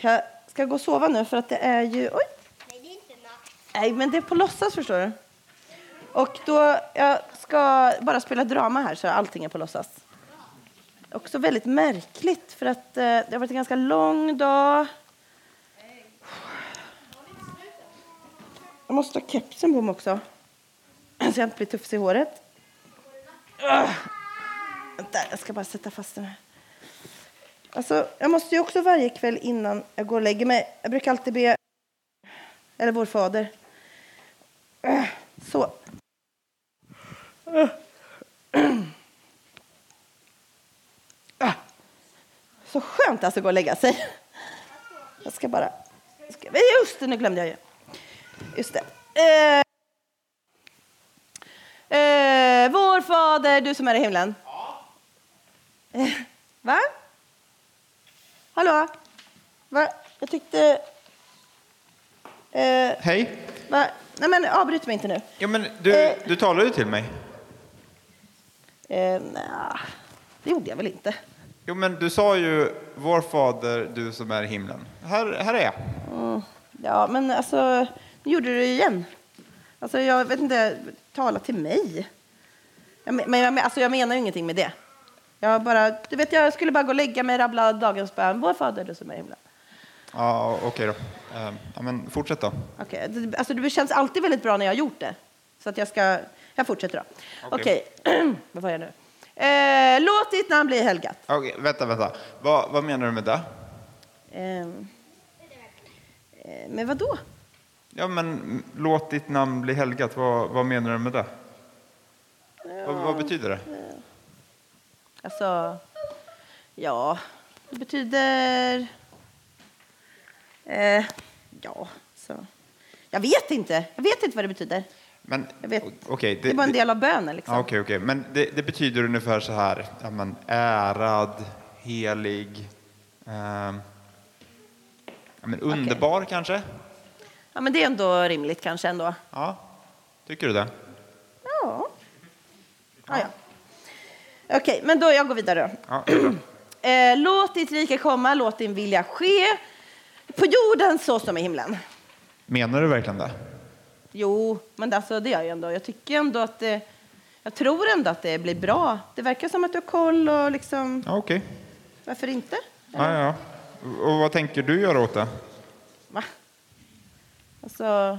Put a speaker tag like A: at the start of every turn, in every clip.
A: Jag ska gå och sova nu för att det är ju... Oj!
B: Nej, det är inte natt.
A: Nej, men det är på låtsas förstår du. Och då, jag ska bara spela drama här så allting är på låtsas. Också väldigt märkligt för att eh, det har varit en ganska lång dag. Jag måste ha kepsen på mig också. Så jag inte blir tufs i håret. Ugh. Vänta, jag ska bara sätta fast den här. Alltså, jag måste ju också varje kväll innan jag går och lägger mig. Jag brukar alltid be eller vår fader. Äh, Så. Äh. Äh. Så skönt alltså att gå och lägga sig. Jag ska bara... Ska, men just det, nu glömde jag ju. Just det. Eh. Eh, vår fader, du som är i himlen. Eh, Va? Hallå? Va? Jag tyckte... Eh,
C: Hej.
A: Va? Nej, men avbryt mig inte nu.
C: Ja, men du, du talar ju till mig.
A: Eh, nja, det gjorde jag väl inte.
C: Jo, men du sa ju vår fader, du som är i himlen. Här, här är jag.
A: Ja, men alltså, nu gjorde du det igen. Alltså, jag vet inte, tala till mig. Jag, men, men, jag men- alltså, jag menar ju ingenting med det. Jag bara, du vet, jag skulle bara gå och lägga mig, rabbla dagens bön. Vår fader, du som är i himlen.
C: Ja, okej då. Eh, Ja, men fortsätt då.
A: Okej, det- alltså det känns alltid väldigt bra när jag har gjort det. Så att jag ska, jag fortsätter då. Okej,
C: Okej.
A: vad var jag nu? Eh, låt ditt namn bli helgat.
C: Okej, vänta, vänta. Vad, vad menar du med det?
A: Eh, eh, men vad då?
C: Ja, men mm, låt ditt namn bli helgat. Vad, vad menar du med det? Vad, vad betyder det?
A: Alltså, ja, det betyder... Eh, ja, så... Jag vet inte. Jag vet inte vad det betyder.
C: Men,
A: Jag vet.
C: okej, det,
A: Det är bara en del av bönen.
C: Ja,
A: Liksom.
C: okej, okej. Men det, det betyder ungefär så här, ja, men, ärad, helig, ehm, ja, men, underbar kanske?
A: Ja, men det är ändå rimligt kanske ändå.
C: Ja, tycker du det?
A: Ja. Ah, ja. Okej, men då jag går vidare. då.
C: Ja, det är bra.
A: Eh, låt ditt rike komma, låt din vilja ske. På jorden så som i himlen.
C: Menar du verkligen det?
A: Jo, men det- alltså, det gör jag ändå. Jag tycker ändå att det, jag tror ändå att det blir bra. Det verkar som att du har koll och liksom,
C: Ja, okej.
A: varför inte?
C: Ja, ja, ja. Och vad tänker du göra åt det?
A: Va? Alltså, jag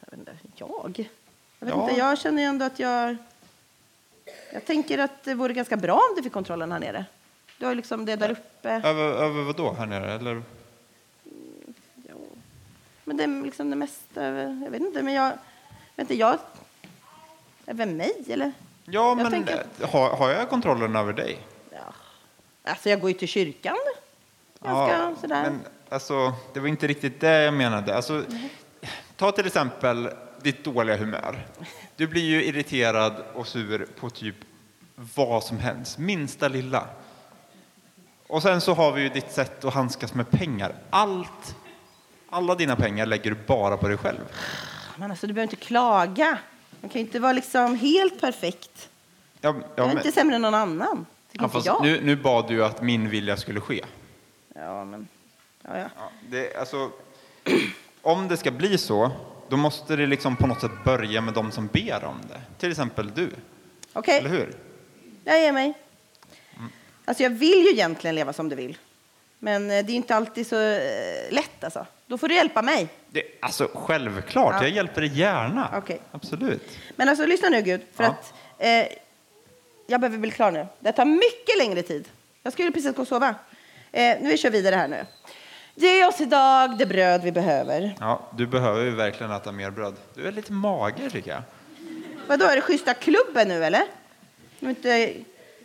A: vet inte, jag? Jag vet
C: Ja.
A: inte, jag känner ju ändå att jag, jag tänker att det vore ganska bra om du fick kontrollen här nere. Du har ju liksom det där uppe.
C: Över, över vad då? Här nere? Eller?
A: Jo. Men det är liksom det mesta, jag vet inte, men jag, vet inte, jag, över mig eller?
C: Ja, men
A: tänker
C: eh, har, har jag kontrollen över dig?
A: Ja. Alltså jag går ju till kyrkan. Ganska sådär.
C: Men alltså, det var inte riktigt det jag menade. Alltså, ta till exempel ditt dåliga humör. Du blir ju irriterad och sur på typ vad som helst, minsta lilla. Och sen så har vi ju ditt sätt att handskas med pengar. Allt, alla dina pengar lägger du bara på dig själv.
A: Men alltså du behöver inte klaga. Man kan ju inte vara liksom helt perfekt.
C: Ja, ja,
A: jag är
C: men,
A: inte sämre än någon annan. Tycker
C: ja,
A: inte
C: fast
A: jag.
C: nu, nu bad du ju att min vilja skulle ske.
A: Ja, men. Ja, ja.
C: Ja, det, alltså, om det ska bli så, då måste det liksom på något sätt börja med de som ber om det. Till exempel du,
A: Okej,
C: eller hur? Mm.
A: jag ger mig. Alltså jag vill ju egentligen leva som du vill. Men eh, det är ju inte alltid så eh, lätt alltså. Då får du hjälpa mig.
C: Det, alltså, självklart,
A: Ja.
C: jag hjälper dig gärna.
A: Okej.
C: Absolut.
A: Men alltså lyssna nu Gud. För
C: Ja.
A: att eh, jag behöver bli klar nu. Det tar mycket längre tid. Jag skulle precis gå och sova. Eh, nu kör vi vidare här nu. Ge oss idag det bröd vi behöver.
C: Ja, du behöver ju verkligen äta mer bröd. Du är lite mager tycker jag.
A: Vadå, är det schyssta klubben nu eller? Nu inte...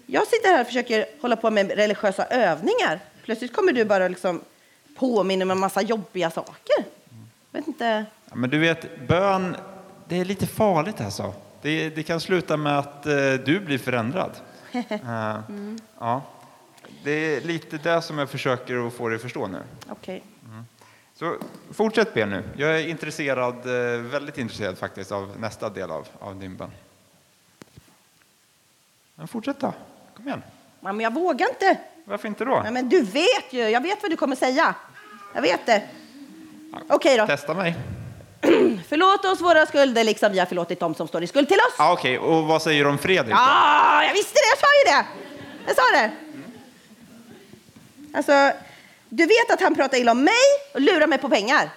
A: Jag sitter här och försöker hålla på med religiösa övningar. Plötsligt kommer du bara och liksom påminna mig om en massa jobbiga saker. Jag vet inte.
C: Ja, men du vet, bön, det är lite farligt alltså. Det, det kan sluta med att eh, du blir förändrad. Eh, ja. Det är lite det som jag försöker att få dig att förstå nu.
A: Okej.
C: Så fortsätt be nu. Jag är intresserad, eh, väldigt intresserad faktiskt av nästa del av, av din bön. Men fortsätt då. Kom igen.
A: Ja, men jag vågar inte.
C: Varför inte då?
A: Nej, men du vet ju. Jag vet vad du kommer säga. Jag vet det. Okej då.
C: Testa mig.
A: Förlåt oss våra skulder liksom vi har förlåtit dem som står i skuld till oss.
C: Ah, Okej, och vad säger du om Fredrik?
A: Ja, jag visste det! Jag sa ju det! Jag sa det! Alltså, du vet att han pratar illa om mig och lurar mig på pengar.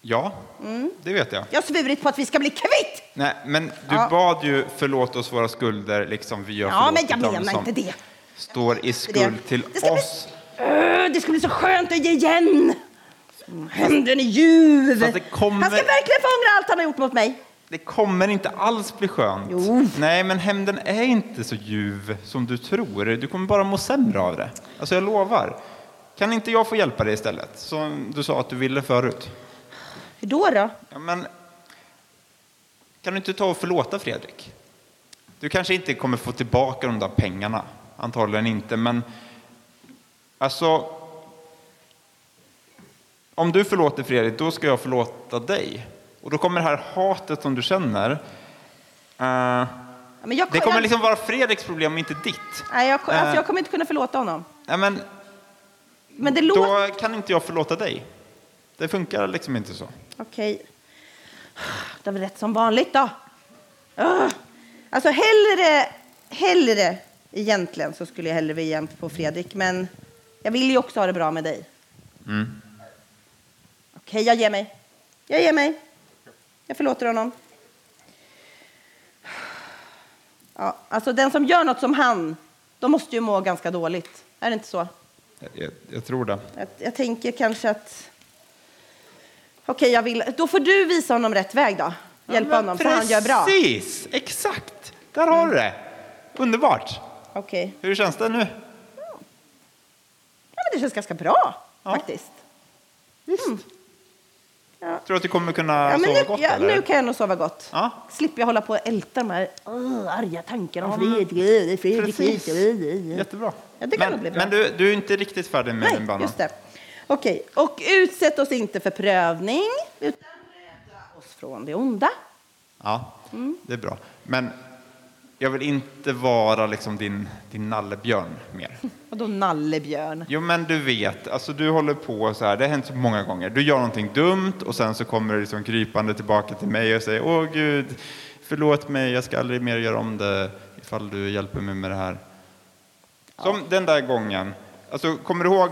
C: Ja,
A: Mm.
C: det vet jag.
A: Jag har svurit på att vi ska bli kvitt!
C: Nej, men du
A: Ja.
C: bad ju förlåt oss våra skulder, liksom vi har
A: Ja, men
C: förlåtit
A: jag
C: dem
A: menar
C: som
A: inte det.
C: står i skuld till
A: Det ska bli-
C: oss.
A: Öh, det skulle bli så skönt att ge igen! Händen är ljuv!
C: Fast det kommer-
A: Han ska verkligen få ångra allt han har gjort mot mig.
C: Det kommer inte alls bli skönt.
A: Jo.
C: Nej, men hämnden är inte så ljuv som du tror. Du kommer bara må sämre av det. Alltså, jag lovar. Kan inte jag få hjälpa dig istället? Som du sa att du ville förut.
A: Hur då? då?
C: Ja, men kan du inte ta och förlåta Fredrik? Du kanske inte kommer få tillbaka de där pengarna. Antagligen inte, men alltså. Om du förlåter Fredrik, då ska jag förlåta dig. Och då kommer det här hatet som du känner. eh,
A: Ja, Men jag,
C: det kommer
A: jag,
C: liksom vara Fredriks problem, inte ditt.
A: nej, jag, alltså,
C: Eh.
A: jag kommer inte kunna förlåta honom.
C: Nej, men
A: Men det låter...
C: då kan inte jag förlåta dig. Det funkar liksom inte så.
A: Okej. Det är väl rätt som vanligt då. Ugh. Alltså hellre, hellre egentligen så skulle jag hellre vilja jämt på Fredrik, men jag vill ju också ha det bra med dig. Okej, jag ger mig. Jag ger mig. Jag förlåter honom. Ja, alltså den som gör något som han, de måste ju må ganska dåligt. Är det inte så?
C: Jag, jag, jag tror det.
A: Jag, jag tänker kanske att... Okej, jag vill... Då får du visa honom rätt väg då. Hjälpa
C: Ja, men
A: honom, för han gör bra.
C: Precis, exakt. Där har du det. Underbart.
A: Okej.
C: Hur känns det nu?
A: Ja, men det känns ganska bra,
C: Ja.
A: faktiskt.
C: Visst.
A: Ja.
C: Tror du att du kommer kunna
A: Ja, men
C: sova
A: nu,
C: gott?
A: ja,
C: eller?
A: nu kan jag nog sova gott.
C: Ja.
A: Slipper jag hålla på och älta de här uh, arga tankarna om
C: Ja, men-
A: Fredrik. Åh, det är Fredrik.
C: Precis.
A: hit, åh, åh, åh.
C: Jättebra.
A: Ja, det kan
C: men
A: nog bli bra.
C: men du, du är inte riktigt färdig med din
A: Nej,
C: bana.
A: just det. Okej. Och utsätt oss inte för prövning, utan rädda oss från det onda.
C: Ja,
A: Mm.
C: det är bra. Men jag vill inte vara liksom din, din nallebjörn mer.
A: Vadå nallebjörn?
C: Jo, men du vet, alltså du håller på så här, det har hänt så många gånger. Du gör någonting dumt och sen så kommer du liksom krypande tillbaka till mig och säger Åh Gud, förlåt mig, jag ska aldrig mer göra om det ifall du hjälper mig med det här. Som den där gången, alltså kommer du ihåg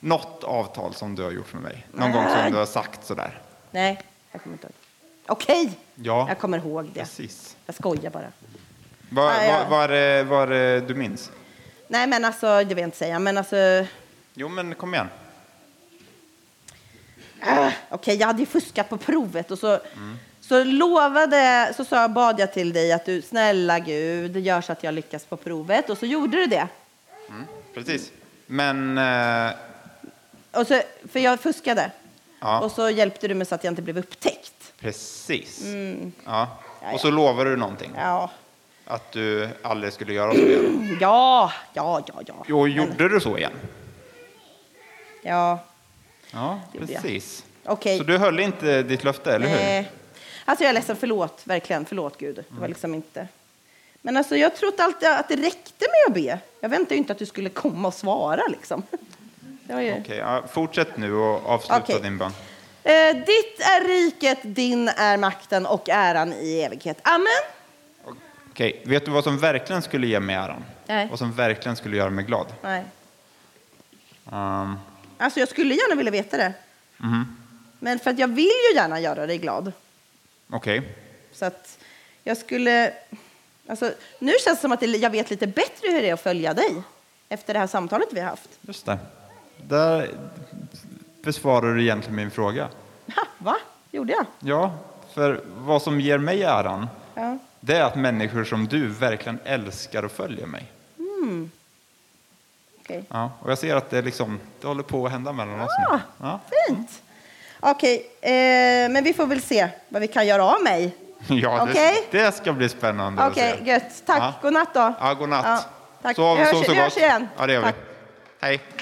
C: något avtal som du har gjort med mig? Någon gång som du har sagt sådär?
A: Nej, jag kommer inte ihåg. Okej,
C: Ja.
A: jag kommer ihåg det.
C: Precis.
A: Jag skojar bara.
C: Vad
A: Ja, ja.
C: vad- vad är det- vad är det du minns?
A: Nej, men alltså, det vill jag inte säga. Men alltså, äh,
C: Jo, men kom igen.
A: okej, jag hade ju fuskat på provet och så, så lovade, så sa, bad jag till dig att du, snälla Gud, gör så att jag lyckas på provet. Och så gjorde du det.
C: Precis. Men, eh,
A: Och så, för jag fuskade.
C: ja.
A: Och så hjälpte du mig så att jag inte blev upptäckt.
C: Precis. Ja.
A: Mm. Ja,
C: Och så lovar du någonting.
A: Ja,
C: Att du aldrig skulle göra så igen.
A: ja, ja, ja, ja.
C: Jo, gjorde du så igen?
A: ja.
C: Ja,
A: Gjorde jag.
C: precis.
A: Okej.
C: Så du höll inte ditt löfte, eller hur? Mm.
A: Nej. Alltså jag är ledsen, förlåt, verkligen, förlåt Gud. Det var liksom inte... Men alltså jag trodde alltid att det räckte med att be. Jag väntade ju inte att du skulle komma och svara liksom. Det var ju...
C: Okej, ja, fortsätt nu och avsluta
A: Okej.
C: din bön.
A: eh, ditt är riket, din är makten och äran i evighet. Amen.
C: Okej, vet du vad som verkligen skulle ge mig äran?
A: Nej.
C: Vad som verkligen skulle göra mig glad?
A: Nej.
C: Um,
A: Alltså jag skulle gärna vilja veta det.
C: mhm,
A: Men för att jag vill ju gärna göra dig glad.
C: Okej.
A: Så att jag skulle... Alltså, nu känns det som att jag vet lite bättre hur det är att följa dig. Efter det här samtalet vi har haft.
C: Just det. Där besvarar du egentligen min fråga.
A: Ha, va? Gjorde jag?
C: Ja, för vad som ger mig äran,
A: Ja.
C: det är att människor som du verkligen älskar och följer mig.
A: Okej.
C: Ja, och jag ser att det, liksom, det håller på att hända mellan oss
A: Ah,
C: nu. Ja.
A: Fint. Okej, eh, men vi får väl se vad vi kan göra av mig.
C: Ja, det,
A: Okej.
C: det ska bli spännande
A: Okej,
C: att se.
A: gött. Tack.
C: Ja.
A: God natt då.
C: Ja, god natt.
A: Ja, tack.
C: Sov,
A: vi hörs,
C: sov så
A: vi
C: gott.
A: hörs igen.
C: Ja, det gör
A: tack.
C: vi. Hej.